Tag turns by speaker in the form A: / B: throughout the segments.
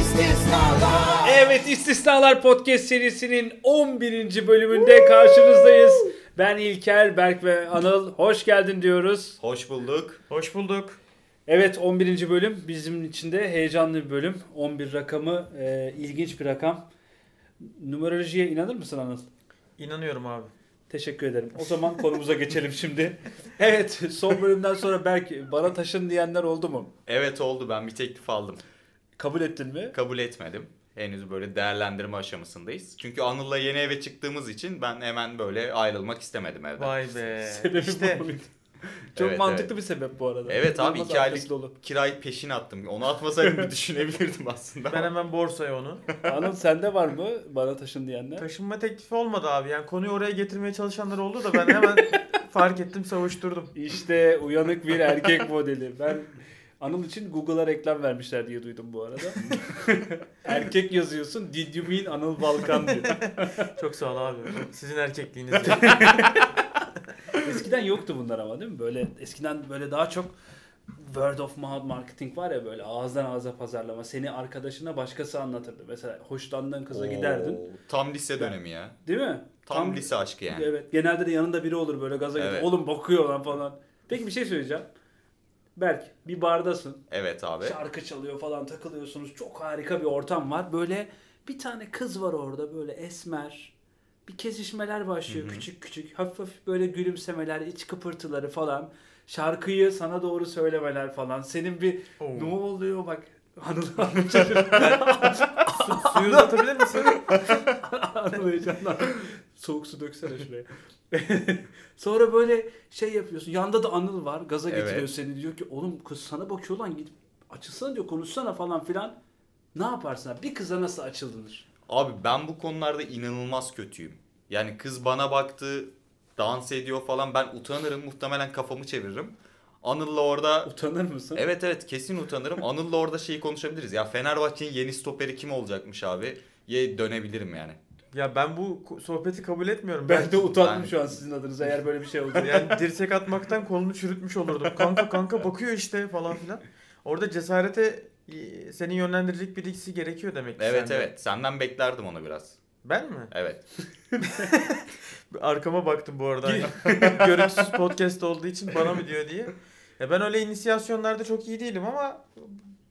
A: İstisnalar
B: Evet İstisnalar Podcast serisinin 11. bölümünde karşınızdayız. Ben İlker, Berk ve Anıl. Hoş geldin diyoruz.
C: Hoş bulduk.
D: Hoş bulduk.
B: Evet 11. bölüm bizim için de heyecanlı bir bölüm. 11 rakamı e, ilginç bir rakam. Numerolojiye inanır mısın Anıl?
D: İnanıyorum abi.
B: Teşekkür ederim. O zaman konumuza geçelim şimdi. Evet son bölümden sonra Berk bana taşın diyenler oldu mu?
C: Evet oldu ben bir teklif aldım.
B: Kabul ettin mi?
C: Kabul etmedim. Henüz böyle değerlendirme aşamasındayız. Çünkü Anıl'la yeni eve çıktığımız için ben hemen böyle ayrılmak istemedim evden.
D: Vay be.
B: Sebebi
D: işte
B: bu muydu? Çok
C: Ee, Evet,
B: mantıklı
C: evet.
B: bir sebep bu arada.
C: Evet abi,
B: İnanılmaz
C: iki aylık-
B: arkası dolu.
C: Kirayı peşin attım. Onu atmasaydım bir düşünebilirdim aslında.
D: ben hemen borsaya onu.
B: Anıl sende var mı bana taşın diyenler?
D: Taşınma teklifi olmadı abi. Yani konuyu oraya getirmeye çalışanlar oldu da ben hemen fark ettim savuşturdum.
B: İşte uyanık bir erkek modeli. Ben Anıl için Google'a reklam vermişler diye duydum bu arada. erkek yazıyorsun. Did you mean Anıl Balkan diyor.
D: Çok sağ ol abi. Sizin erkekliğinizle.
B: Eskiden yoktu bunlar ama değil mi? Böyle eskiden böyle daha çok word of mouth marketing var ya böyle ağızdan ağza pazarlama. Seni arkadaşına başkası anlatırdı. Mesela hoşlandığın kıza
C: Oo,
B: giderdin.
C: Tam lise dönemi ya.
B: Değil mi?
C: Tam, lise aşkı yani.
B: Evet. Genelde de yanında biri olur böyle gaza gelir.
C: Evet.
B: Oğlum bakıyor lan falan. Peki bir şey söyleyeceğim. Berk bir bardasın.
C: Evet abi.
B: Şarkı çalıyor falan takılıyorsunuz. Çok harika bir ortam var. Böyle bir tane kız var orada böyle esmer. Bir kesişmeler başlıyor küçük küçük. Hafif hafif böyle gülümsemeler, iç kıpırtıları falan. Şarkıyı sana doğru söylemeler falan. Senin bir
D: Oo.
B: ne oluyor bak. Anıl
D: Suyu uzatabilir misin?
B: Anıl heyecandan. Soğuk su döksene şuraya. Sonra böyle şey yapıyorsun. Yanda da Anıl var. Gaza
C: Evet.
B: getiriyor seni. Diyor ki oğlum kız sana bakıyor lan git açılsana diyor konuşsana falan filan. Ne yaparsın abi? Bir kıza nasıl açılınır?
C: Abi ben bu konularda inanılmaz kötüyüm. Yani kız bana baktı, dans ediyor falan. Ben utanırım. Muhtemelen kafamı çeviririm. Anıl'la orada
B: Utanır mısın?
C: Evet evet kesin utanırım. Anıl'la orada şeyi konuşabiliriz. Ya Fenerbahçe'nin yeni stoperi kim olacakmış abi? Ye dönebilirim yani.
D: Ya ben bu ku- sohbeti kabul etmiyorum.
B: Ben de utandım
C: Ben-
B: şu an sizin adınıza eğer böyle bir şey oldu.
D: yani dirsek atmaktan kolunu çürütmüş olurdum. Kanka kanka bakıyor işte falan filan. Orada cesarete e, seni yönlendirecek birisi gerekiyor demek ki.
C: Evet
D: sende.
C: evet. Senden beklerdim onu biraz.
D: Ben mi?
C: Evet.
D: Arkama baktım bu arada. Hani Görüntüsüz podcast olduğu için bana mı diyor diye. Ya ben öyle inisiyasyonlarda çok iyi değilim ama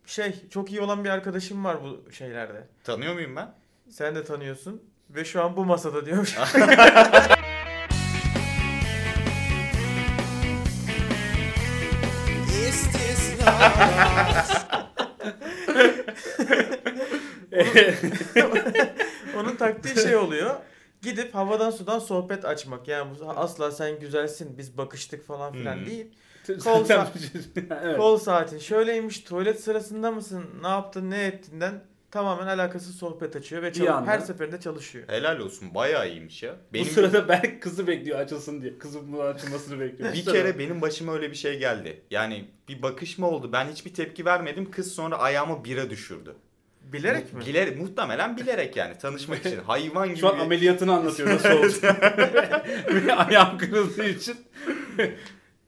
D: şey çok iyi olan bir arkadaşım var bu şeylerde.
C: Tanıyor muyum ben?
D: Sen de tanıyorsun ve şu an bu masada diyor.
A: İstisnalar
D: Onun taktiği şey oluyor. Gidip havadan sudan sohbet açmak. Yani bu asla sen güzelsin biz bakıştık falan filan
C: Hmm.
D: değil.
B: Kol
D: Kolsa-
B: evet.
D: Kol saati şöyleymiş tuvalet sırasında mısın ne yaptın ne ettinden tamamen alakasız sohbet açıyor ve çalış-
B: anda-
D: her seferinde çalışıyor.
C: Helal olsun. Bayağı iyiymiş ya. Benim
B: Bu sırada Berk kızı bekliyor açılsın diye. Kızın bunu açılmasını bekliyor.
C: bir kere benim başıma öyle bir şey geldi. Yani bir bakışma oldu. Ben hiçbir tepki vermedim. Kız sonra ayağıma bira düşürdü.
D: Bilerek mi?
C: Bilerek, muhtemelen bilerek yani tanışmak için. Hayvan gibi.
B: Şu an
C: bir-
B: ameliyatını anlatıyor nasıl oldu. Ve Ayağım kırıldığı için.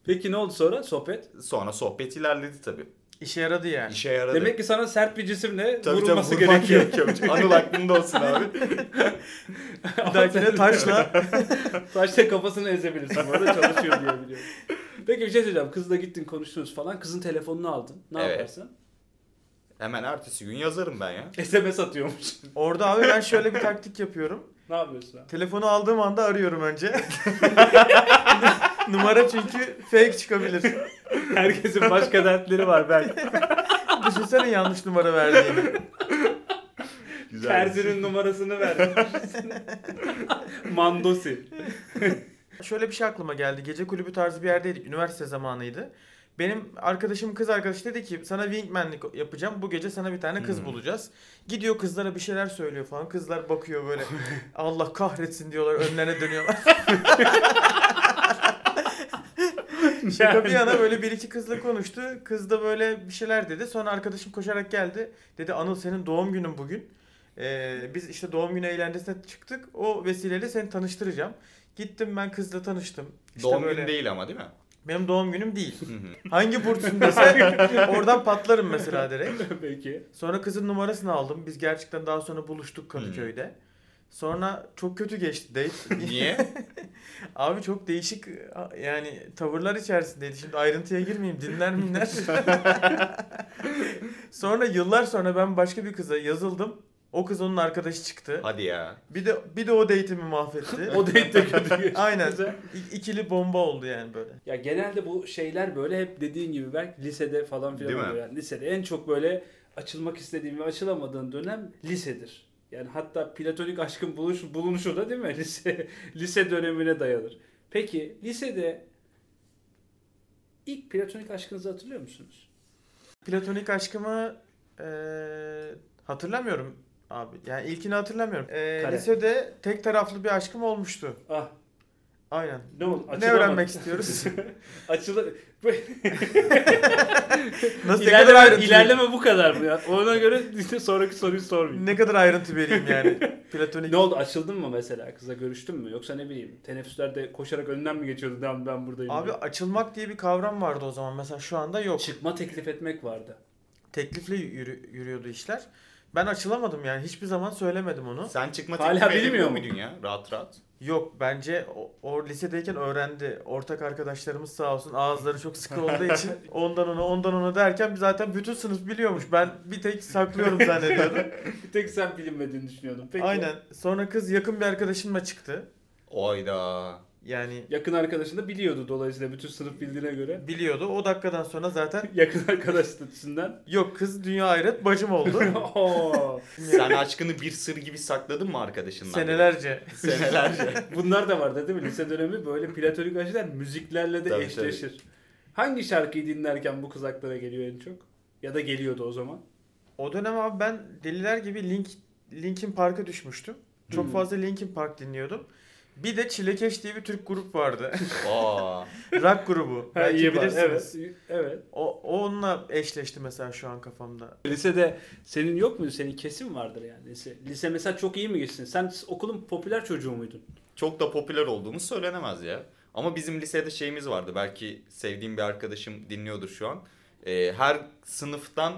B: Peki ne oldu sonra sohbet?
C: Sonra sohbet ilerledi tabii.
D: İşe yaradı yani.
C: İşe yaradı.
B: Demek ki sana sert bir cisimle
C: tabii, tabii,
B: vurulması
C: vurmak
B: gerekiyor.
C: gerekiyormuş. Anıl aklında olsun abi.
D: Bir dahakine taşla
B: Taşla kafasını ezebilirsin. Bu arada çalışıyor diye biliyorum. Peki bir şey söyleyeceğim. Kızla gittin konuştunuz falan. Kızın telefonunu aldın. Ne
C: Evet.
B: yaparsın?
C: Hemen ertesi gün yazarım ben ya.
B: SMS atıyormuş.
D: Orada abi ben şöyle bir taktik yapıyorum.
B: ne yapıyorsun abi?
D: Telefonu aldığım anda arıyorum önce. Numara çünkü fake çıkabilir.
B: Herkesin başka dertleri var belki.
D: Düşünsene yanlış numara verdiğini.
B: Terzinin numarasını ver. Mandosi.
D: Şöyle bir şey aklıma geldi. Gece kulübü tarzı bir yerdeydik. Üniversite zamanıydı. Benim arkadaşım kız arkadaş dedi ki sana wingmanlik yapacağım. Bu gece sana bir tane kız
C: Hmm.
D: bulacağız. Gidiyor kızlara bir şeyler söylüyor falan. Kızlar bakıyor böyle. Allah kahretsin diyorlar. Önlerine dönüyorlar. Şaka bir yana böyle bir iki kızla konuştu. Kız da böyle bir şeyler dedi. Sonra arkadaşım koşarak geldi. Dedi Anıl senin doğum günün bugün. Ee, biz işte doğum günü eğlencesine çıktık. O vesileyle seni tanıştıracağım. Gittim ben kızla tanıştım. İşte
C: Doğum
D: böyle-
C: günü değil ama değil mi?
D: Benim doğum günüm değil.
C: Hı hı.
D: Hangi burçsun dese oradan patlarım mesela direkt.
B: Peki.
D: Sonra kızın numarasını aldım. Biz gerçekten daha sonra buluştuk
C: Hmm.
D: Kadıköy'de. Sonra çok kötü geçti date.
C: Niye?
D: Abi çok değişik yani tavırlar içerisindeydi. Şimdi ayrıntıya girmeyeyim dinler minler. sonra yıllar sonra ben başka bir kıza yazıldım. O kız onun arkadaşı çıktı.
C: Hadi ya.
D: Bir de bir de o date'imi mahvetti.
B: O date de kötü geçti.
D: Aynen.
B: Güzel.
D: İ- ikili bomba oldu yani böyle.
B: Ya genelde bu şeyler böyle hep dediğin gibi belki lisede falan filan
C: Değil mi?
B: oluyor. Yani lisede en çok böyle açılmak istediğin ve açılamadığın dönem lisedir. Yani hatta platonik aşkın buluş, bulunuşu da değil mi? Lise, lise dönemine dayanır. Peki lisede ilk platonik aşkınızı hatırlıyor musunuz?
D: Platonik aşkımı e, hatırlamıyorum abi. Yani ilkini hatırlamıyorum. E,
B: Kare.
D: lisede tek taraflı bir aşkım olmuştu.
B: Ah
D: Aynen.
B: ne oldu?
D: Ne
B: Açılamadı.
D: öğrenmek istiyoruz?
B: Açılı...
D: Nasıl ne kadar
B: ilerleme,
D: ayrıntı?
B: ilerleme bu kadar mı ya? Ona göre işte sonraki soruyu sormayayım.
D: Ne kadar ayrıntı vereyim yani. Platonik.
B: Ne oldu açıldın mı mesela kıza görüştün mü yoksa ne bileyim teneffüslerde koşarak önünden mi geçiyordun ben, ben buradayım
D: Abi
B: diye.
D: açılmak diye bir kavram vardı o zaman. Mesela şu anda yok.
B: çıkma teklif etmek vardı.
D: Teklifle yürü- yürüyordu işler. Ben açılamadım yani. Hiçbir zaman söylemedim onu.
C: Sen çıkma
B: Hala
C: teklifi
B: bilmiyor
C: edemiyor
B: mu?
C: muydun ya? Rahat rahat.
D: Yok bence o, o lisedeyken öğrendi. Ortak arkadaşlarımız sağ olsun ağızları çok sıkı olduğu için ondan ona ondan ona derken zaten bütün sınıf biliyormuş. Ben bir tek saklıyorum zannediyordum.
B: Bir tek sen bilinmediğini düşünüyordun. Peki.
D: Aynen. Sonra kız yakın bir arkadaşımla çıktı.
C: Oyda.
D: Yani
B: Yakın arkadaşın da biliyordu dolayısıyla bütün sınıf bildiğine göre.
D: biliyordu. O dakikadan sonra zaten
B: Yakın arkadaş statüsünden.
D: yok kız dünya hayret bacım oldu.
B: Oo,
C: Sen aşkını bir sır gibi sakladın mı arkadaşından?
D: Senelerce.
C: Senelerce.
B: Bunlar da vardı değil mi? Lise dönemi böyle platonik aşklar müziklerle de
C: Tabii,
B: eşleşir. Hangi şarkıyı dinlerken bu kız aklına geliyor en çok? Ya da geliyordu o zaman.
D: O dönem abi ben deliler gibi Link, Linkin Park'a düşmüştüm. Çok
B: Hmm.
D: fazla Linkin Park dinliyordum. Bir de Çilekeş diye bir Türk grup vardı.
C: Aa.
D: Rock grubu. Belki
B: iyi bak,
D: bilirsiniz.
B: Evet. Evet.
D: O, o onunla eşleşti mesela şu an kafamda.
B: Lisede senin yok muydu? Senin kesin vardır yani. Lise, lise mesela çok iyi mi geçtin? Sen okulun popüler çocuğu muydun?
C: Çok da popüler olduğumuz söylenemez ya. Ama bizim lisede şeyimiz vardı. Belki sevdiğim bir arkadaşım dinliyordur şu an. Ee, her sınıftan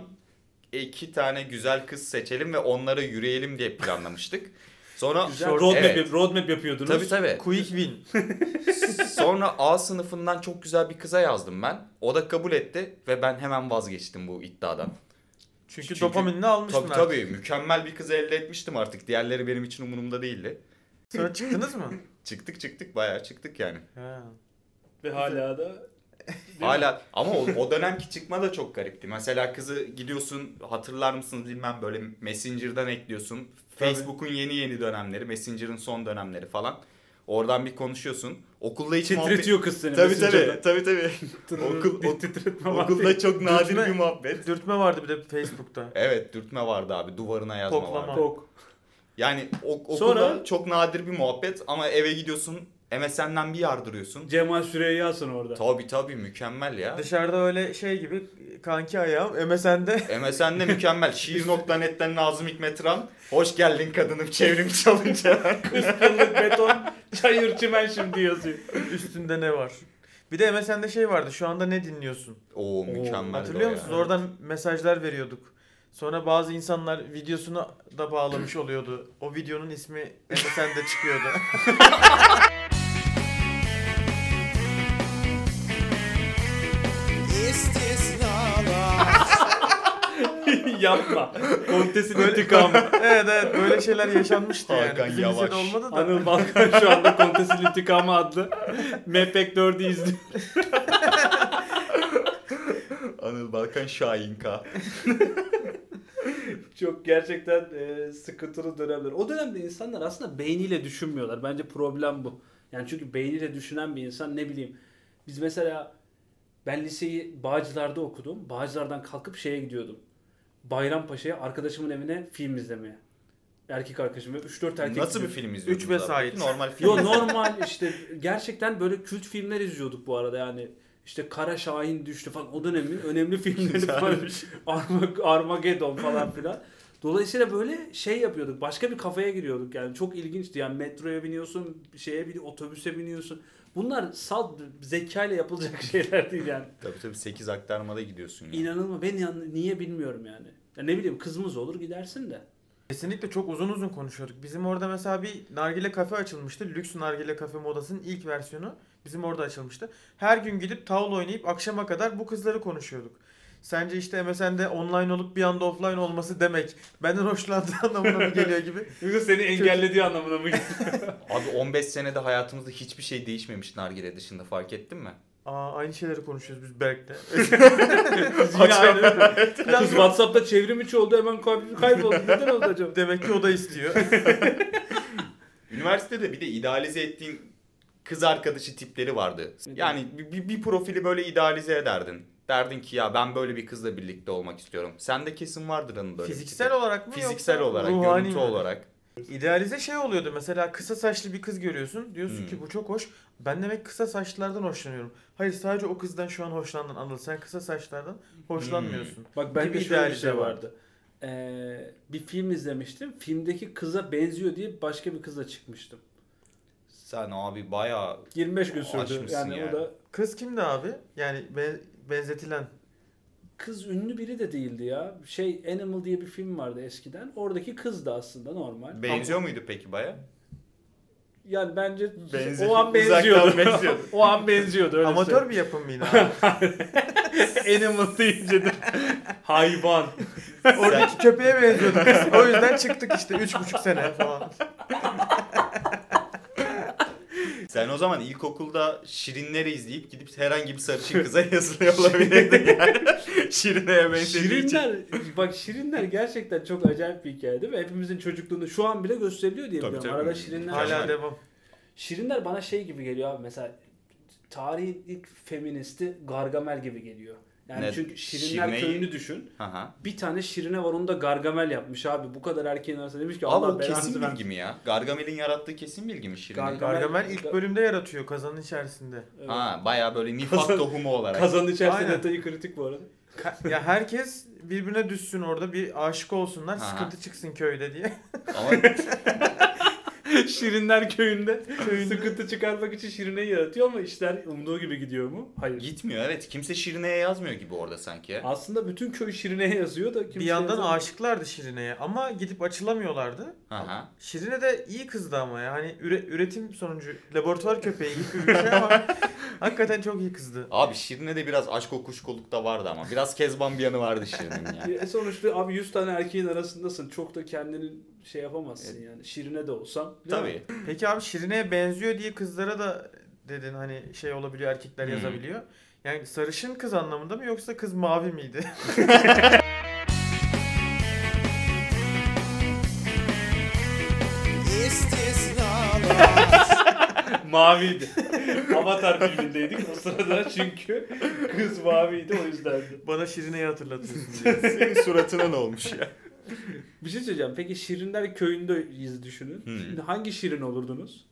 C: iki tane güzel kız seçelim ve onlara yürüyelim diye planlamıştık. Sonra
B: Güzel.
D: Short-
B: roadmap,
C: Ah, Evet.
B: roadmap yapıyordunuz.
C: Tabii tabii.
D: Quick win.
C: Sonra A sınıfından çok güzel bir kıza yazdım ben. O da kabul etti ve ben hemen vazgeçtim bu iddiadan.
D: Çünkü,
C: Çünkü-
D: dopaminini almışsın
C: Tabii
D: artık.
C: tabii mükemmel bir kızı elde etmiştim artık. Diğerleri benim için umurumda değildi.
D: Sonra çıktınız mı?
C: Çıktık çıktık bayağı çıktık yani.
D: Ha.
B: Ve hala da
C: Hala ama o, o dönemki çıkma da çok garipti. Mesela kızı gidiyorsun hatırlar mısınız bilmem böyle Messenger'dan ekliyorsun.
D: Tabii.
C: Facebook'un yeni yeni dönemleri, Messenger'ın son dönemleri falan. Oradan bir konuşuyorsun. Okulda hiç
B: titretiyor kız seni.
C: Tabii tabii,
B: Messenger'dan.
C: tabii tabii. Okul,
B: Bir
C: ok-
B: titretme var.
C: okulda çok nadir
D: Dürtme-
C: bir muhabbet.
D: Dürtme vardı bir de Facebook'ta.
C: Evet dürtme vardı abi duvarına yazma
D: Koklama.
C: vardı.
B: Tok.
C: Yani o, okulda
B: Sonra-
C: çok nadir bir muhabbet ama eve gidiyorsun MSN'den bir yardırıyorsun.
B: Cemal Süreyya'sın orada.
C: Tabii tabii mükemmel ya.
D: Dışarıda öyle şey gibi kanki ayağım MSN'de
C: MSN'de mükemmel. Şiir.net'ten Nazım Hikmetran. Hoş geldin kadınım çevrim çalınca.
B: Kırk beton, çayır çimen şimdi yazıyor.
D: üstünde ne var? Bir de MSN'de şey vardı şu anda ne dinliyorsun?
C: Oo mükemmel.
D: Hatırlıyor musunuz? Oradan mesajlar veriyorduk. Sonra bazı insanlar videosunu da bağlamış oluyordu. O videonun ismi MSN'de çıkıyordu.
A: Is this love?
B: Yapma. Kontesin
D: Böyle-
B: intikamı.
D: evet evet böyle şeyler yaşanmıştı yani.
C: Hakan
D: Bizim
C: Yavaş.
D: lisede olmadı da.
B: Anıl Balkan şu anda Kontesin İntikamı adlı Mepek 4'ü izliyor.
C: Anıl Balkan Şahinka.
B: Çok gerçekten e, sıkıntılı dönemler. O dönemde insanlar aslında beyniyle düşünmüyorlar. Bence problem bu. Yani çünkü beyniyle düşünen bir insan ne bileyim. Biz mesela ben liseyi Bağcılar'da okudum. Bağcılar'dan kalkıp şeye gidiyordum. Bayrampaşa'ya arkadaşımın evine film izlemeye. Erkek arkadaşım ve 3-4 erkek.
C: Nasıl bir
B: gidiyor.
C: film izliyordunuz?
D: Üç vesait.
C: abi? Normal film.
B: Yo normal işte gerçekten böyle kült filmler izliyorduk bu arada yani. İşte Kara Şahin düştü falan o dönemin önemli filmleri falan. Arma- Armageddon falan filan. Dolayısıyla böyle şey yapıyorduk. Başka bir kafaya giriyorduk yani. Çok ilginçti. Yani metroya biniyorsun, şeye bini, otobüse biniyorsun. Bunlar salt zekayla yapılacak şeyler değil yani.
C: Tabii tabii 8 aktarmada gidiyorsun yani.
B: İnanılma ben yan- niye bilmiyorum yani. Ya ne bileyim kızımız olur gidersin de.
D: Kesinlikle çok uzun uzun konuşuyorduk. Bizim orada mesela bir nargile kafe açılmıştı. Lüks nargile kafe modasının ilk versiyonu bizim orada açılmıştı. Her gün gidip tavla oynayıp akşama kadar bu kızları konuşuyorduk. Sence işte MSN'de online olup bir anda offline olması demek benden hoşlandığı anlamına mı geliyor gibi.
B: Yoksa seni engellediği anlamına mı
C: Abi 15 senede hayatımızda hiçbir şey değişmemiş nargile dışında fark ettin mi?
D: Aa, aynı şeyleri konuşuyoruz biz Berk'le.
B: Kız Whatsapp'ta çevrim içi oldu hemen kay- kayboldu. Neden oldu acaba?
D: Demek ki o da istiyor.
C: Üniversitede bir de idealize ettiğin kız arkadaşı tipleri vardı. Yani bir, bir- bir profili böyle idealize ederdin. Derdin ki ya ben böyle bir kızla birlikte olmak istiyorum. Sende kesin vardır hanım böyle. bir
D: Fiziksel
C: tipi.
D: olarak mı
C: Fiziksel
D: yoksa
C: olarak,
D: ruhani
C: görüntü
D: mi?
C: olarak.
D: İdealize şey oluyordu mesela kısa saçlı bir kız görüyorsun. Diyorsun
C: Hmm.
D: ki bu çok hoş. Ben demek kısa saçlılardan hoşlanıyorum. Hayır sadece o kızdan şu an hoşlandın Anıl. Sen kısa saçlardan hoşlanmıyorsun.
C: Hmm.
B: Bak ben
D: Gibi
B: de şöyle bir
D: idealistler
B: şey
D: var.
B: vardı. Ee, bir film izlemiştim. Filmdeki kıza benziyor diye başka bir kızla çıkmıştım.
C: Sen abi bayağı
B: 25 gün sürdü.
C: Aşmışsın
B: Yani,
C: yani.
B: o da
D: Kız kimdi abi? Yani be- benzetilen.
B: kız ünlü biri de değildi ya. Şey Animal diye bir film vardı eskiden. Oradaki kız da aslında normal.
C: benziyor muydu peki baya?
B: Yani bence
C: Benziyor.
B: o an
C: Uzaktan
B: benziyordu.
C: benziyordu.
B: o an benziyordu.
C: şey.
B: Öyle
D: Amatör bir yapım mıydı abi?
B: söyleyeyim. Animal deyince de hayvan.
D: Oradaki köpeğe benziyorduk biz. O yüzden çıktık işte 3,5 sene falan.
C: Sen o zaman ilkokulda Şirinleri izleyip gidip herhangi bir sarışın kıza yazılıyor olabilirdin yani. Şirine'ye benzediği için.
B: Şirinler, bak Şirinler gerçekten çok acayip bir hikaye değil mi? Hepimizin çocukluğunu şu an bile gösteriliyor diye
C: Tabii,
B: biliyorum.
C: tabii.
B: Arada Şirinler
D: Hala
C: Mükemmel.
D: devam.
B: Şirinler bana şey gibi geliyor abi mesela tarihin ilk feministi Gargamel gibi geliyor. Yani
C: Ne-
B: çünkü Şirinler
C: Şirine'yi-
B: köyünü düşün.
C: Hı hı.
B: Bir tane Şirine var onu da Gargamel yapmış abi. Bu kadar erkeğin arasında demiş ki
C: Abi
B: Allah
C: o
B: belanı
C: kesin
B: versin."
C: bilgi mi ya? Gargamel'in yarattığı kesin bilgi mi Şirine?
B: Gargamel-
D: Gargamel ilk bölümde yaratıyor kazanın içerisinde.
B: Evet.
C: Ha bayağı böyle nifak
B: Kazan-
C: tohumu olarak.
B: Kazanın içerisinde
D: Aynen.
B: detayı kritik bu arada.
D: Ka- ya herkes birbirine düşsün orada bir aşık olsunlar
C: Aha.
D: sıkıntı çıksın köyde diye.
C: Ama
B: Şirinler köyünde sıkıntı çıkarmak için Şirine'yi yaratıyor ama işler umduğu gibi gidiyor mu? Hayır.
C: gitmiyor evet. Kimse Şirine'ye yazmıyor gibi orada sanki. ya.
B: Aslında bütün köy Şirine'ye yazıyor da kimse
D: Bir yandan
B: yazamıyor.
D: aşıklardı Şirine'ye ama gidip açılamıyorlardı.
C: Hı hı.
D: Şirine de iyi kızdı ama ya. Hani üre- üretim sonucu laboratuvar köpeği gibi bir şey ama hakikaten çok iyi kızdı.
C: Abi Şirine de biraz aşk kokuşkoluk da vardı ama. Biraz kezban bir yanı vardı Şirine'nin yani.
B: E, sonuçta abi 100 tane erkeğin arasındasın. Çok da kendini şey
D: E,
B: yapamazsın yani. Şirine de olsan. değil mi?
C: Tabii.
D: Peki abi Şirine'ye benziyor diye kızlara da dedin hani şey olabiliyor erkekler
C: Hmm.
D: yazabiliyor. Yani sarışın kız anlamında mı yoksa kız mavi miydi?
A: istisnalar
B: Maviydi. Avatar filmindeydik o sırada çünkü kız maviydi o yüzden.
D: Bana Şirine'yi hatırlatıyorsun diye.
C: Senin suratına ne olmuş ya?
B: Bir şey söyleyeceğim. Peki Şirinler köyündeyiz düşünün.
D: Hmm.
C: Hı.
B: Şimdi hangi Şirin olurdunuz?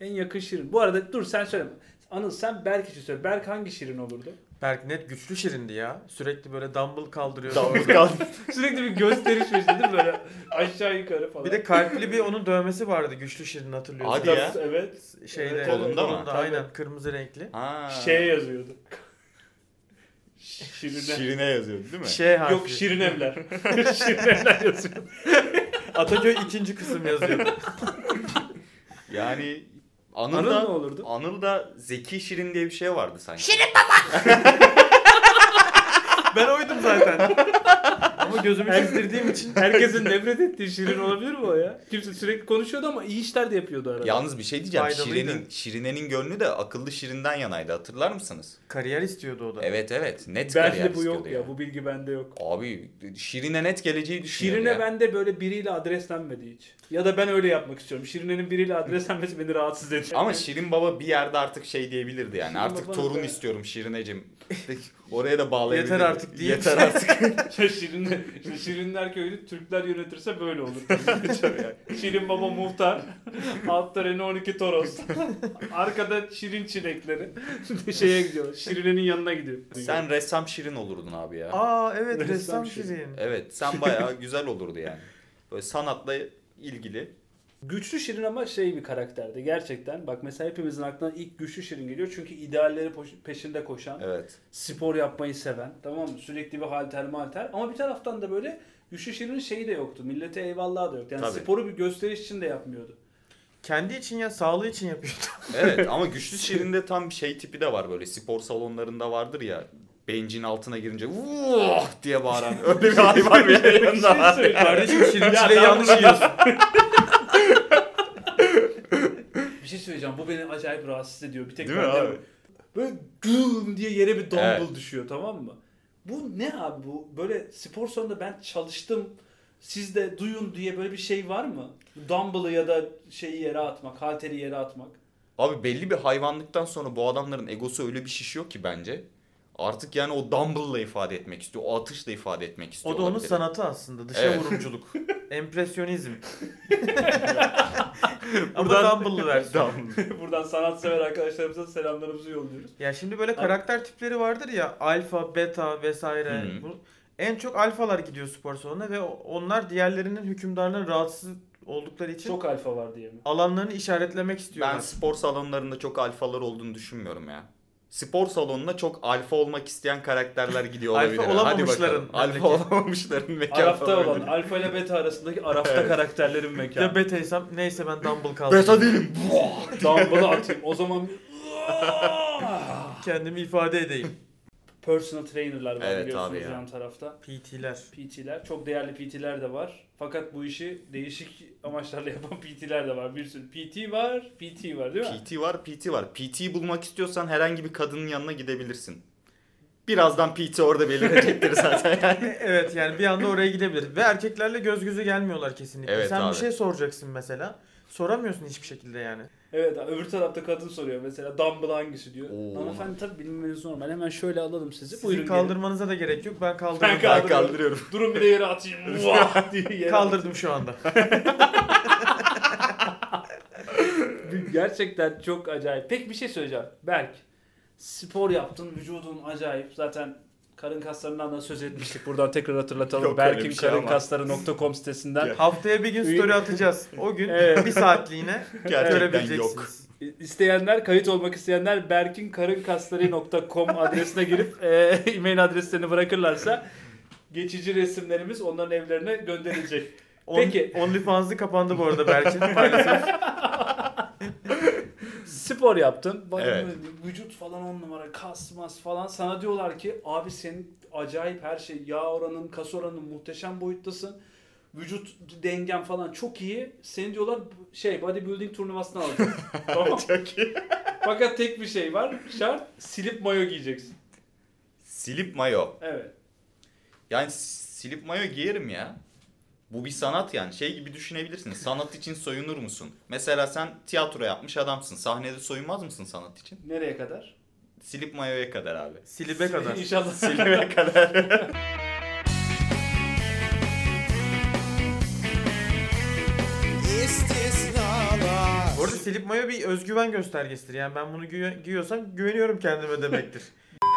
B: En yakın Şirin. Bu arada dur sen söyleme. Anıl sen Berk için söyle. Berk hangi Şirin olurdu?
D: Berk net güçlü Şirindi ya. Sürekli böyle dumbbell kaldırıyor.
C: Damla kaldı.
B: Sürekli bir gösteriş peşinde değil mi? Böyle aşağı yukarı falan.
D: Bir de kalpli bir onun dövmesi vardı güçlü Şirin hatırlıyorsun.
C: Hadi ya.
B: Evet.
D: Şeyde,
B: Evet,
C: Kolunda mı?
D: Kolunda
B: Tabii.
D: aynen kırmızı renkli.
C: Ha.
B: Şeye yazıyordu. Şirin'e.
C: Şirine yazıyordu değil mi?
D: Şey harfi.
B: Yok şirin evler. şirin evler yazıyor.
D: Ataköy ikinci kısım yazıyor.
C: Yani Anıl,
B: Anıl
C: da,
B: ne olurdu?
C: Anıl da Zeki Şirin diye bir şey vardı sanki.
D: ben oydum zaten. Ama gözümü çizdirdiğim için.
B: Herkesin nefret ettiği şirin olabilir mi o ya? Kimse sürekli konuşuyordu ama iyi işler de yapıyordu arada.
C: Yalnız bir şey diyeceğim.
D: Faydalıydı.
C: Şirin'in, Şirine'nin gönlü de akıllı Şirin'den yanaydı. Hatırlar mısınız?
D: Kariyer istiyordu o da.
C: Evet evet. Net kariyer
B: Bende bu
C: istiyordu
B: yok ya. Bu bilgi bende yok.
C: Abi Şirine net geleceği düşünüyor
B: Şirine
C: ya.
B: bende böyle biriyle adreslenmedi hiç. Ya da ben öyle yapmak istiyorum. Şirine'nin biriyle adreslenmesi beni rahatsız ediyor.
C: Ama Şirin Baba bir yerde artık şey diyebilirdi yani.
B: Şirin
C: artık
B: Baba
C: torun
B: da-
C: istiyorum Şirinecim. Oraya da bağlayabilirdi.
D: Yeter artık şey değil.
C: Yeter artık.
B: Ya Şirinler, işte Şirinler köyünü Türkler yönetirse böyle olur. Şirin baba muhtar. Altta Renault 12 Toros. Arkada Şirin çilekleri. Şeye gidiyor. Şirine'nin yanına gidiyor.
C: sen ressam Şirin olurdun abi ya.
D: Aa evet
B: Ressam
D: ressam
B: Şirin.
D: Şirin.
C: Evet sen bayağı güzel olurdu yani. Böyle sanatla ilgili
B: Güçlü Şirin ama şey bir karakterdi gerçekten. Bak mesela hepimizin aklına ilk Güçlü Şirin geliyor. Çünkü idealleri poş- peşinde koşan,
C: Evet.
B: spor yapmayı seven, tamam mı? Sürekli bir halter malter. Ama bir taraftan da böyle Güçlü Şirin'in şeyi de yoktu. Millete eyvallah da yoktu. Yani
C: Tabii.
B: sporu bir gösteriş için de yapmıyordu.
D: Kendi için ya sağlığı için yapıyordu.
C: Evet ama güçlü şirinde tam şey tipi de var böyle spor salonlarında vardır ya bencin altına girince vuh diye bağıran öyle bir hayvan
B: şey
C: bir yanında var.
D: Kardeşim şirin
B: Ya
D: çileği
B: ben
D: yanlış
B: bunu-
D: yiyorsun.
B: Bir şey söyleyeceğim. Bu beni acayip rahatsız ediyor. Bir tek
C: Değil mi
B: bende
C: abi?
B: bu. Böyle güm diye yere bir dumbbell
C: Evet.
B: düşüyor tamam mı? Bu ne abi bu? Böyle spor salonunda ben çalıştım. Siz de duyun diye böyle bir şey var mı? Dumbbell'ı ya da şeyi yere atmak, halteri yere atmak.
C: Abi belli bir hayvanlıktan sonra bu adamların egosu öyle bir şişiyor ki bence. Artık yani o dumbbell'la ifade etmek istiyor. O atışla ifade etmek istiyor.
D: O da onun
C: olabilir.
D: sanatı aslında. Dışa
C: Evet.
D: vurumculuk. Empresyonizm.
C: Buradan-
D: Ama Dumble'lı versiyonu.
B: Buradan sanatsever arkadaşlarımıza selamlarımızı yolluyoruz.
D: Ya şimdi böyle karakter tipleri vardır ya alfa, beta vesaire.
C: Hı hı.
D: Bu, en çok alfalar gidiyor spor salonuna ve o- onlar diğerlerinin hükümdarına rahatsız oldukları için
B: Çok alfa var diye mi?
D: alanlarını işaretlemek istiyorlar.
C: Ben spor salonlarında çok alfalar olduğunu düşünmüyorum ya. Spor salonuna çok alfa olmak isteyen karakterler gidiyor
D: Alfa
C: olabilir.
D: olamamışların
C: Hadi bakalım. Alfa
D: belki.
C: olamamışların belki
B: Arafta
C: alfa
B: olan,
C: olabilir.
B: alfa ile beta arasındaki Arafta karakterlerin mekanı.
D: Ya betaysam neyse ben Dumble kaldım.
C: Beta değilim.
B: Dumbbell'ı atayım. O zaman bir-
D: Kendimi ifade edeyim.
B: personal trainer'lar var
C: Evet abi
B: biliyorsunuz
C: ya.
B: yan tarafta.
D: PT'ler.
B: PT'ler. Çok değerli PT'ler de var. Fakat bu işi değişik amaçlarla yapan PT'ler de var. Bir sürü PT var, PT var değil mi?
C: PT var, PT var. PT'yi bulmak istiyorsan herhangi bir kadının yanına gidebilirsin. Birazdan PT orada belirecektir zaten yani.
D: E- Evet yani bir anda oraya gidebilir. Ve erkeklerle göz göze gelmiyorlar kesinlikle.
C: Evet
D: Sen
C: abi.
D: bir şey soracaksın mesela. Soramıyorsun hiçbir şekilde yani.
B: Evet öbür tarafta kadın soruyor mesela dumbbell hangisi diyor.
C: Oo.
B: Hanımefendi tabii bilmemiz normal. Hemen şöyle alalım sizi.
D: Sizin
B: Buyurun gelin.
D: kaldırmanıza da gerek yok. Ben kaldırdım.
B: Ben
D: Ben
C: Ben
B: Kaldırıyorum.
C: kaldırıyorum.
B: Durun bir de yere atayım. Vah diye yere
D: kaldırdım şu anda.
B: atayım. Gerçekten çok acayip. Pek bir şey söyleyeceğim. Berk spor yaptın. Vücudun acayip. Zaten karın kaslarından da söz etmiştik. Buradan tekrar hatırlatalım.
C: Yok öyle
B: Berk'in
C: bir şey ama.
B: karınkasları.com sitesinden
D: Haftaya bir gün story atacağız. O gün
B: Evet.
D: bir saatliğine
C: Gerçekten
D: görebileceksiniz.
C: yok.
B: İsteyenler, kayıt olmak isteyenler berkinkarınkasları.com adresine girip e, e-mail adreslerini bırakırlarsa geçici resimlerimiz onların evlerine gönderilecek.
D: On,
B: Peki.
D: Peki. OnlyFans'ı kapandı bu arada Berkin maalesef.
B: Spor yaptın. Bak,
C: Evet.
B: Vücut falan on numara, kas mas falan. Sana diyorlar ki abi senin acayip her şey. Yağ oranın, kas oranın muhteşem boyuttasın. Vücut dengen falan çok iyi. Seni diyorlar şey bodybuilding turnuvasına alacağız. tamam.
C: Çok iyi.
B: Fakat tek bir şey var. Şart silip mayo giyeceksin.
C: Silip mayo.
B: Evet.
C: Yani silip mayo giyerim ya. Bu bir sanat yani. Şey gibi düşünebilirsin. Sanat için soyunur musun? Mesela sen tiyatro yapmış adamsın. Sahnede soyunmaz mısın sanat için?
B: Nereye kadar?
C: Silip mayoya kadar abi.
D: Silibe kadar.
B: İnşallah
C: Silime kadar.
A: istisnalar
D: Bu arada silip mayo bir özgüven göstergesidir. Yani ben bunu güve- giyiyorsam güveniyorum kendime demektir.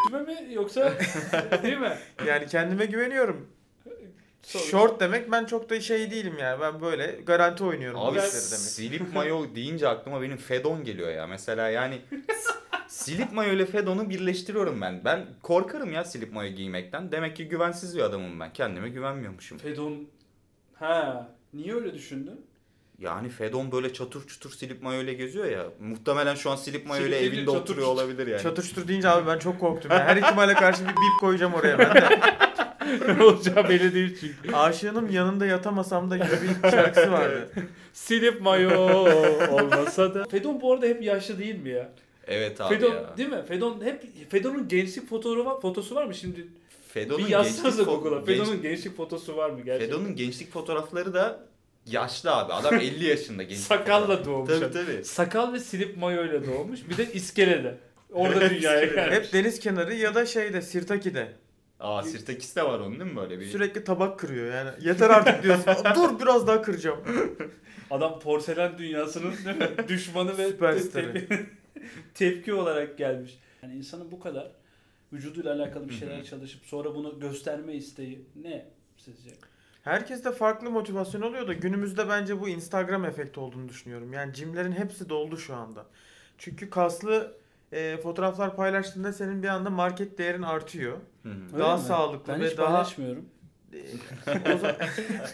B: Kime mi yoksa değil mi?
D: Yani kendime güveniyorum.
B: Sorry.
D: Short demek ben çok da şey değilim yani. Ben böyle garanti oynuyorum bu
C: Abi
D: işleri demek.
C: silip mayo deyince aklıma benim Fedon geliyor ya. Mesela yani s- silip mayo ile Fedon'u birleştiriyorum ben. Ben korkarım ya silip mayo giymekten. Demek ki güvensiz bir adamım ben. Kendime güvenmiyormuşum.
B: Fedon. Ha, niye öyle düşündün?
C: Yani Fedon böyle çatır çutur silip mayo ile geziyor ya. Muhtemelen şu an silip mayo ile
B: Silip değil de
C: evinde
B: çatır
C: oturuyor
B: çutur.
C: olabilir yani.
D: Çatıştır deyince abi ben çok korktum. Yani. Her ihtimale karşı bir bip koyacağım oraya ben de.
B: ne olacağı belli değil çünkü.
D: Aşığının yanında yatamasam da gibi bir şarkısı vardı.
B: Silip mayo olmasa da. Fedon bu arada hep yaşlı değil mi ya?
C: Evet abi
B: Fedon
C: ya.
B: değil mi? Fedon hep Fedon'un gençlik fotoğrafı fotosu var mı şimdi?
C: Fedon'un
B: bir yazsanıza
C: fo-
B: Google'a.
C: genç-
B: Fedon'un gençlik fotosu var mı gerçekten?
C: Fedon'un gençlik fotoğrafları da yaşlı abi. Adam 50 yaşında genç.
B: sakalla doğmuş.
C: Tabii
B: adam.
C: tabii.
B: Sakal ve silip mayo ile doğmuş. Bir de iskelede. Orada dünyaya gelmiş.
D: Hep deniz kenarı ya da şeyde Sirtaki'de.
C: Aa Sirtekis de var onun değil mi böyle bir?
D: Sürekli tabak kırıyor yani. Yeter artık diyorsun. Dur biraz daha kıracağım.
B: Adam porselen dünyasının değil mi? düşmanı ve
D: Süperstarı.
B: te- tep- tepki olarak gelmiş. Yani insanın bu kadar vücuduyla alakalı bir şeyler çalışıp sonra bunu gösterme isteği ne sizce?
D: Herkes de farklı motivasyon oluyor da günümüzde bence bu Instagram efekti olduğunu düşünüyorum. Yani cimlerin hepsi doldu şu anda. Çünkü kaslı e, fotoğraflar paylaştığında senin bir anda market değerin artıyor.
C: Hı hı.
B: Öyle
D: daha
B: mi?
D: sağlıklı
B: Ben
D: ve
B: hiç
D: daha-
B: paylaşmıyorum.
D: E, o zaman-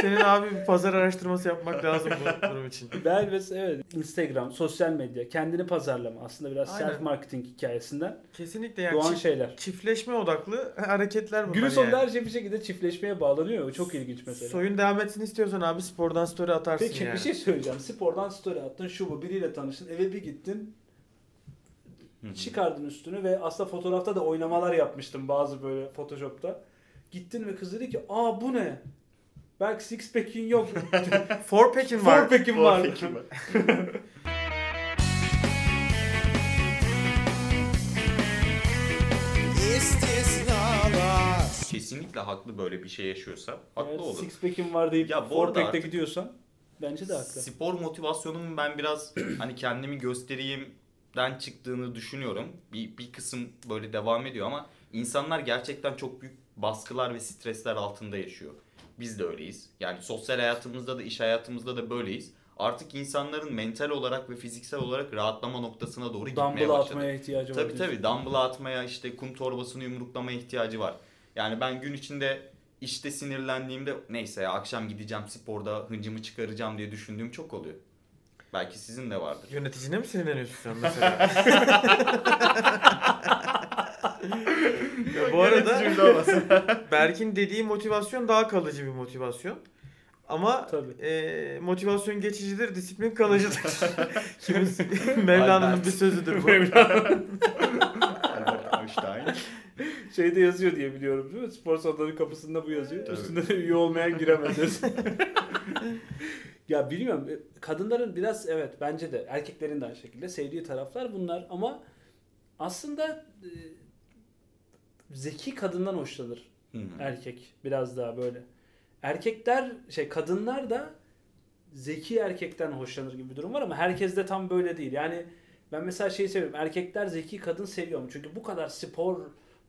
D: senin abi bir pazar araştırması yapmak lazım bu durum için.
B: Ben mesela evet Instagram, sosyal medya, kendini pazarlama aslında biraz
D: Aynen.
B: self marketing hikayesinden
D: Kesinlikle yani
B: doğan
D: çift-
B: şeyler.
D: çiftleşme odaklı hareketler bunlar
B: Günün
D: yani.
B: sonunda her şey bir şekilde çiftleşmeye bağlanıyor. O çok ilginç mesela.
D: Soyun devam etsin istiyorsan abi spordan story atarsın
B: Peki
D: yani.
B: bir şey söyleyeceğim. Spordan story attın, şu bu biriyle tanıştın, eve bir gittin.
C: hı.
B: Çıkardın üstünü ve aslında fotoğrafta da oynamalar yapmıştım bazı böyle Photoshop'ta. Gittin ve kız dedi ki aa bu ne? Belki six pack'in yok.
D: Four pack'in var.
B: Fourpack'in var.
C: Peki, bak.
A: istisnalar.
C: Kesinlikle haklı böyle bir şey yaşıyorsa. Haklı
B: Eğer
C: olur.
B: six pack'in var deyip
C: Ya bu
B: four
C: arada
B: pack'te
C: artık-
B: gidiyorsan bence de haklı.
C: Spor motivasyonumun ben biraz hani kendimi göstereyimden çıktığını düşünüyorum. Bir, bir kısım böyle devam ediyor ama insanlar gerçekten çok büyük baskılar ve stresler altında yaşıyor. Biz de öyleyiz. Yani sosyal hayatımızda da iş hayatımızda da böyleyiz. Artık insanların mental olarak ve fiziksel olarak rahatlama noktasına doğru gitmeye
B: Dumbbell
C: başladı.
B: atmaya ihtiyacı var.
C: Tabii
B: diyorsun.
C: tabii dumbbell atmaya işte kum torbasını yumruklamaya ihtiyacı var. Yani ben gün içinde işte sinirlendiğimde neyse ya akşam gideceğim sporda hıncımı çıkaracağım diye düşündüğüm çok oluyor. Belki sizin de vardır.
D: Yöneticine mi sinirleniyorsun sen mesela? Ya bu arada Berk'in dediği motivasyon daha kalıcı bir motivasyon. Ama
B: Tabii.
D: e, motivasyon geçicidir, disiplin kalıcıdır. Kimiz Mevlana'nın
C: Albert.
D: bir sözüdür bu.
C: Albert Einstein.
B: Şeyde yazıyor diye biliyorum değil mi? Spor salonlarının kapısında bu yazıyor.
C: Tabii.
B: Üstünde de üye olmayan giremez. ya bilmiyorum. E, Kadınların biraz evet bence de erkeklerin de aynı şekilde sevdiği taraflar bunlar ama aslında e, zeki kadından hoşlanır
C: Hı hı.
B: erkek biraz daha böyle. Erkekler şey kadınlar da zeki erkekten hoşlanır gibi bir durum var ama herkes de tam böyle değil. Yani ben mesela şeyi seviyorum. Erkekler zeki kadın seviyorum. Çünkü bu kadar spor,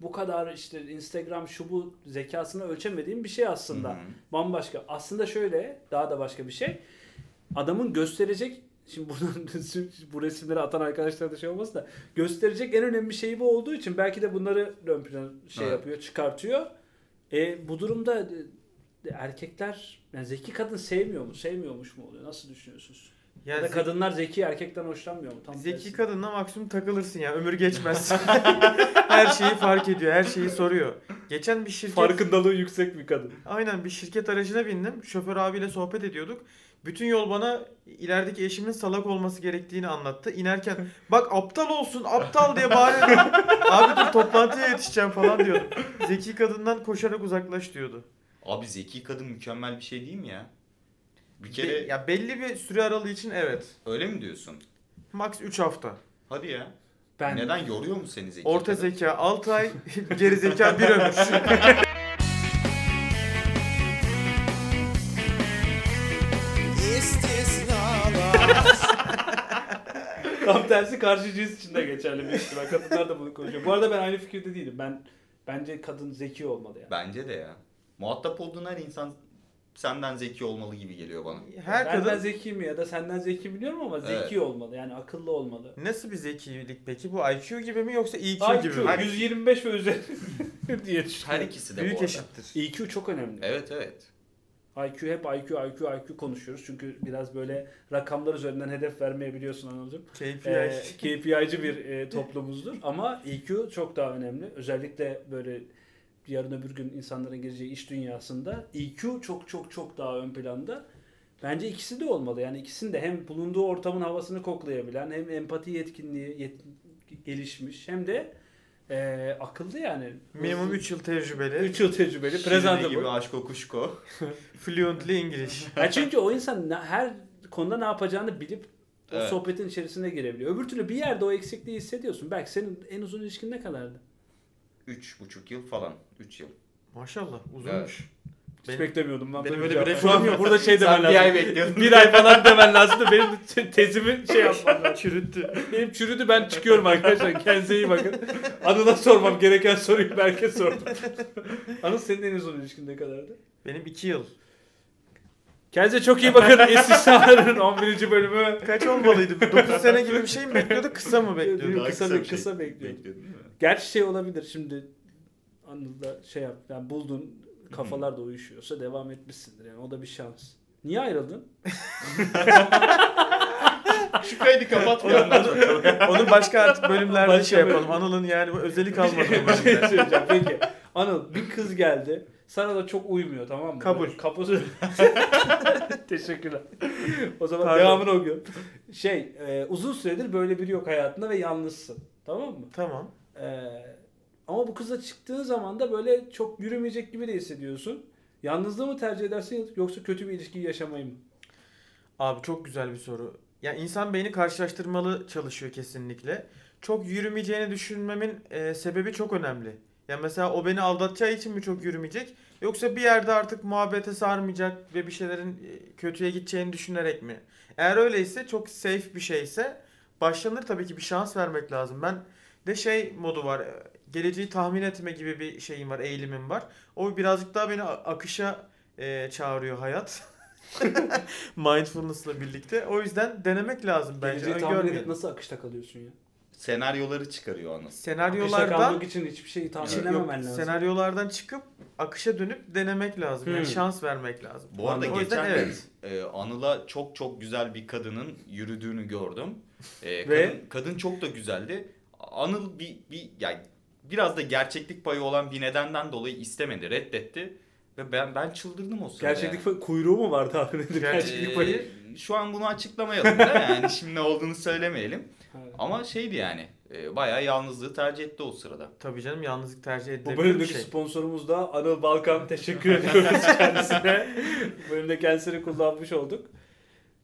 B: bu kadar işte Instagram şu bu zekasını ölçemediğim bir şey aslında.
C: Hı hı.
B: Bambaşka. Aslında şöyle daha da başka bir şey. Adamın gösterecek Şimdi buradan bu resimleri atan arkadaşlar da şey olmasın da gösterecek en önemli şey bu olduğu için belki de bunları ön plana şey
C: Evet.
B: yapıyor, çıkartıyor. E, bu durumda e, erkekler yani zeki kadın sevmiyor mu, sevmiyormuş mu oluyor? Nasıl düşünüyorsunuz? Ya,
D: Ya
B: da
D: ze-
B: kadınlar zeki erkekten hoşlanmıyor mu? Tam
D: Zeki
B: tersi.
D: kadınla maksimum takılırsın ya. Ömür geçmez. her şeyi fark ediyor. Her şeyi soruyor. Geçen bir şirket...
B: farkındalığı yüksek bir kadın.
D: Aynen bir şirket aracına bindim. Şoför abiyle sohbet ediyorduk. Bütün yol bana ilerideki eşimin salak olması gerektiğini anlattı. İnerken bak aptal olsun aptal diye bağırıyordum. Abi dur toplantıya yetişeceğim falan diyordum. Zeki kadından koşarak uzaklaş diyordu.
C: Abi zeki kadın mükemmel bir şey değil mi ya? Bir
D: Be-
C: kere
D: ya belli bir süre aralığı için evet.
C: öyle mi diyorsun?
D: Max 3 hafta.
C: Hadi ya.
B: Ben
C: Neden yoruyor mu seni zeki
D: Orta
C: kadın?
D: zeka 6 ay, geri zeka 1 ömür.
A: istisnalar.
B: tam tersi karşı cins için de geçerli bir ihtimal. Kadınlar da bunu konuşuyor. Bu arada ben aynı fikirde değilim. Ben bence kadın zeki olmalı yani.
C: Bence de ya. Muhatap olduğun her insan senden zeki olmalı gibi geliyor bana.
D: Her
B: Benden
D: kadın
B: zeki mi ya da senden zeki biliyorum ama zeki
C: Evet.
B: olmalı. Yani akıllı olmalı.
D: nasıl bir zekilik peki? Bu IQ gibi mi yoksa EQ, gibi mi?
B: IQ 125 ve üzeri diye
C: Her
B: düşünüyorum.
C: ikisi de bu
D: Büyük
C: arada.
D: eşittir.
B: IQ çok önemli.
C: Evet evet.
B: IQ hep IQ IQ IQ konuşuyoruz. Çünkü biraz böyle rakamlar üzerinden hedef vermeyebiliyorsun anladım.
D: KPI.
B: e, KPI'ci bir e, toplumumuzdur. Ama EQ çok daha önemli. Özellikle böyle yarın öbür gün insanların gireceği iş dünyasında EQ çok çok çok daha ön planda. Bence ikisi de olmalı. Yani ikisini de hem bulunduğu ortamın havasını koklayabilen hem empati yetkinliği yet- gelişmiş hem de e, akıllı yani.
D: Minimum 3 yıl tecrübeli.
B: 3 yıl tecrübeli.
C: Şirinli gibi
B: Presentable.
C: aşk okuşko.
D: Fluently English.
B: Ya çünkü o insan ne- her konuda ne yapacağını bilip o
C: Evet.
B: sohbetin içerisine girebiliyor. Öbür türlü bir yerde o eksikliği hissediyorsun. Belki senin en uzun ilişkin ne kadardı?
C: Üç buçuk yıl falan. Üç yıl.
D: Maşallah uzunmuş.
B: Hiç
D: Benim-
B: beklemiyordum lan.
D: benim
B: böyle
D: öyle bir
B: cevap.
D: refahım yok.
B: Burada şey demen
C: Sen bir ay
B: lazım.
C: bekliyordun.
B: bir ay falan demen lazım da benim te- tezimi şey yapmam lazım.
D: Çürüttü.
B: Benim çürüdü ben çıkıyorum arkadaşlar. Kendinize iyi bakın. Anıl'a sormam gereken soruyu Berk'e sordum. Anıl senin en uzun ilişkin ne kadardı?
D: Benim 2 yıl.
B: Kendinize çok iyi bakın. İstisnaların 11. bölümü.
D: Kaç olmalıydı? 9 sene gibi bir şey mi bekliyordu? Kısa mı bekliyordu?
B: Kısa
C: Daha kısa,
B: bek-
C: bir şey
B: kısa bekliyordum.
C: bekliyordun değil mi?
B: Gerçi şey olabilir şimdi Anıl'da şey yap. Yani buldun kafalar da uyuşuyorsa devam etmişsindir. Yani o da bir şans. Niye ayrıldın?
C: Şu kaydı kapat bir anlat bakalım.
D: Onu başka artık bölümlerde
B: Başka
D: şey yapalım.
B: bölüm.
D: Anıl'ın yani bu özellik almadı. bu
B: Bir şey
D: bölümde.
B: söyleyeceğim. Peki. Anıl bir kız geldi. Sana da çok uymuyor tamam mı?
D: Kabul.
B: Böyle Kapısı. Teşekkürler. O zaman
D: Pardon.
B: devamını okuyorum. Şey e, uzun süredir böyle biri yok hayatında ve yalnızsın. Tamam mı?
D: tamam.
B: E, ama bu kıza çıktığın zaman da böyle çok yürümeyecek gibi de hissediyorsun. Yalnızlığı mı tercih edersin yoksa kötü bir ilişkiyi yaşamayı mı?
D: Abi çok güzel bir soru. Ya insan beyni karşılaştırmalı çalışıyor kesinlikle. Çok yürümeyeceğini düşünmemin e, sebebi çok önemli. Ya mesela o beni aldatacağı için mi çok yürümeyecek? Yoksa bir yerde artık muhabbete sarmayacak ve bir şeylerin e, kötüye gideceğini düşünerek mi? Eğer öyleyse çok safe bir şeyse başlanır tabii ki bir şans vermek lazım. Ben de şey modu var. e, Geleceği tahmin etme gibi bir şeyim var, eğilimim var. O birazcık daha beni a- akışa e, çağırıyor hayat. Mindfulness'la birlikte. O yüzden denemek lazım bence.
B: Geleceği tahmin edip
D: Öngörmeyelim.
B: nasıl akışta kalıyorsun ya?
C: Senaryoları çıkarıyor anasını.
B: Akışta
D: Senaryolardan
B: kalmak için hiçbir şeyi tahmin
C: Yok,
B: edememen
D: Yok,
B: lazım.
D: senaryolardan çıkıp akışa dönüp denemek lazım. Yani
B: Hmm.
D: şans vermek lazım.
C: Bu arada
D: O yüzden
C: geçen gün
D: evet.
C: e, Anıl'a çok çok güzel bir kadının yürüdüğünü gördüm. E,
B: Ve?
C: kadın, kadın çok da güzeldi. Anıl bir, bir yani biraz da gerçeklik payı olan bir nedenden dolayı istemedi, reddetti. Ve ben ben çıldırdım o sırada.
B: Gerçeklik fa- kuyruğu mu var tahmin edip?
D: Gerçek-
C: yani.
D: gerçeklik
C: E,
D: payı.
C: Şu an bunu açıklamayalım da yani şimdi ne olduğunu söylemeyelim.
B: Ha.
C: Ama şeydi yani e, bayağı yalnızlığı tercih etti o sırada.
D: Tabii canım yalnızlık tercih
B: Bu
D: edilebilir bir
B: bölümdeki
D: şey.
B: sponsorumuz da Anıl Balkan. Teşekkür ediyoruz kendisine. Bu bölümde kendisini kullanmış olduk.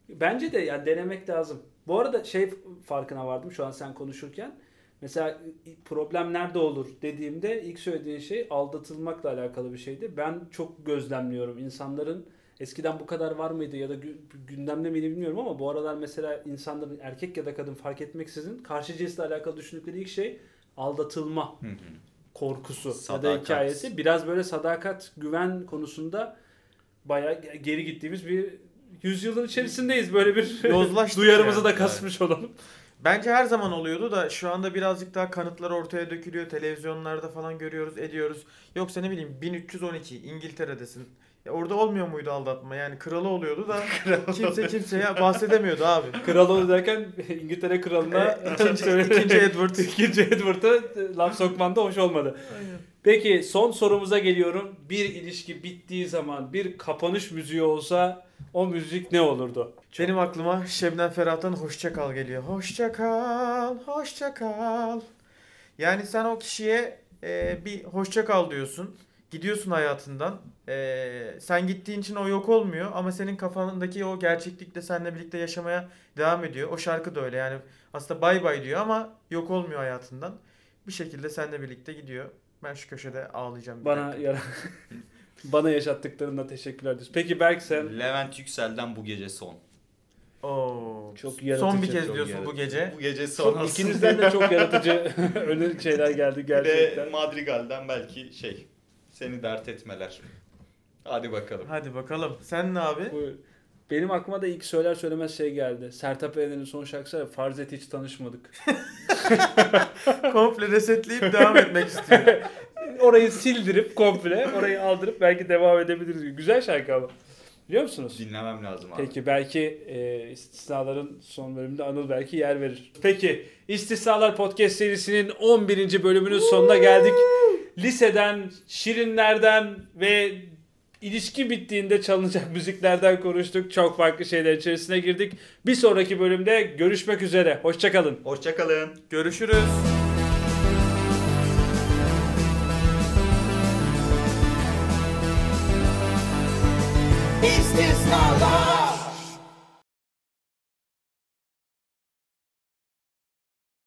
B: Bence de ya denemek lazım. Bu arada şey farkına vardım şu an sen konuşurken. Mesela problem nerede olur dediğimde ilk söylediğin şey aldatılmakla alakalı bir şeydi. Ben çok gözlemliyorum insanların eskiden bu kadar var mıydı ya da gü- gündemde miydi bilmiyorum ama bu aralar mesela insanların erkek ya da kadın fark etmeksizin karşı cinsle alakalı düşündükleri ilk şey aldatılma
C: Hı hı.
B: korkusu ya da
C: Sadakat.
B: hikayesi biraz böyle sadakat güven konusunda bayağı ge- geri gittiğimiz bir yüzyılın içerisindeyiz böyle bir
D: Yozlaştık
B: duyarımızı
D: yani.
B: da kasmış olalım.
D: Bence her zaman oluyordu da şu anda birazcık daha kanıtlar ortaya dökülüyor. Televizyonlarda falan görüyoruz, ediyoruz. Yoksa ne bileyim 1312 İngiltere'desin. Ya orada olmuyor muydu aldatma? Yani kralı oluyordu da kimse kimseye bahsedemiyordu abi.
B: Kral ol derken İngiltere kralına
D: İkinci, E, ikinci Edward.
B: ikinci Edward'a laf sokman da hoş olmadı. Peki son sorumuza geliyorum. Bir ilişki bittiği zaman bir kapanış müziği olsa o müzik ne olurdu?
D: Benim aklıma Şebnem Ferah'tan hoşça kal geliyor. Hoşça kal, hoşça kal. Yani sen o kişiye e, bir hoşça kal diyorsun. Gidiyorsun hayatından. E, sen gittiğin için o yok olmuyor ama senin kafandaki o gerçeklik de seninle birlikte yaşamaya devam ediyor. O şarkı da öyle yani aslında bay bay diyor ama yok olmuyor hayatından. Bir şekilde seninle birlikte gidiyor. Ben şu köşede ağlayacağım. bir
B: Bana
D: dakika.
B: yara bana yaşattıklarına teşekkürler diyoruz. Peki Berk sen
C: Levent Yüksel'den bu gece son.
D: Oo.
B: Çok
D: Son
B: yaratıcı,
D: bir kez
C: çok
D: diyorsun bu
C: yaratıcı.
D: gece.
C: Bu gece son.
B: Çok, ikinizden de çok yaratıcı önerin şeyler geldi
C: Bir de
B: gerçekten.
C: Madrigal'den belki şey seni dert etmeler. Hadi bakalım.
D: Hadi bakalım. Sen ne abi?
B: Bu- Benim aklıma da ilk söyler söylemez şey geldi. Sertab Erener'in son şarkısı var ya, farz et hiç tanışmadık.
D: Komple resetleyip devam etmek istiyor.
B: orayı sildirip komple orayı aldırıp belki devam edebiliriz. Güzel şarkı ama. Biliyor musunuz?
C: Dinlemem lazım abi.
B: Peki belki e, istisnaların son bölümünde Anıl belki yer verir. Peki İstisnalar Podcast serisinin 11. bölümünün sonuna geldik. Liseden, şirinlerden ve ilişki bittiğinde çalınacak müziklerden konuştuk. Çok farklı şeyler içerisine girdik. Bir sonraki bölümde görüşmek üzere. Hoşçakalın.
C: Hoşçakalın.
D: Görüşürüz.
A: İstisnalar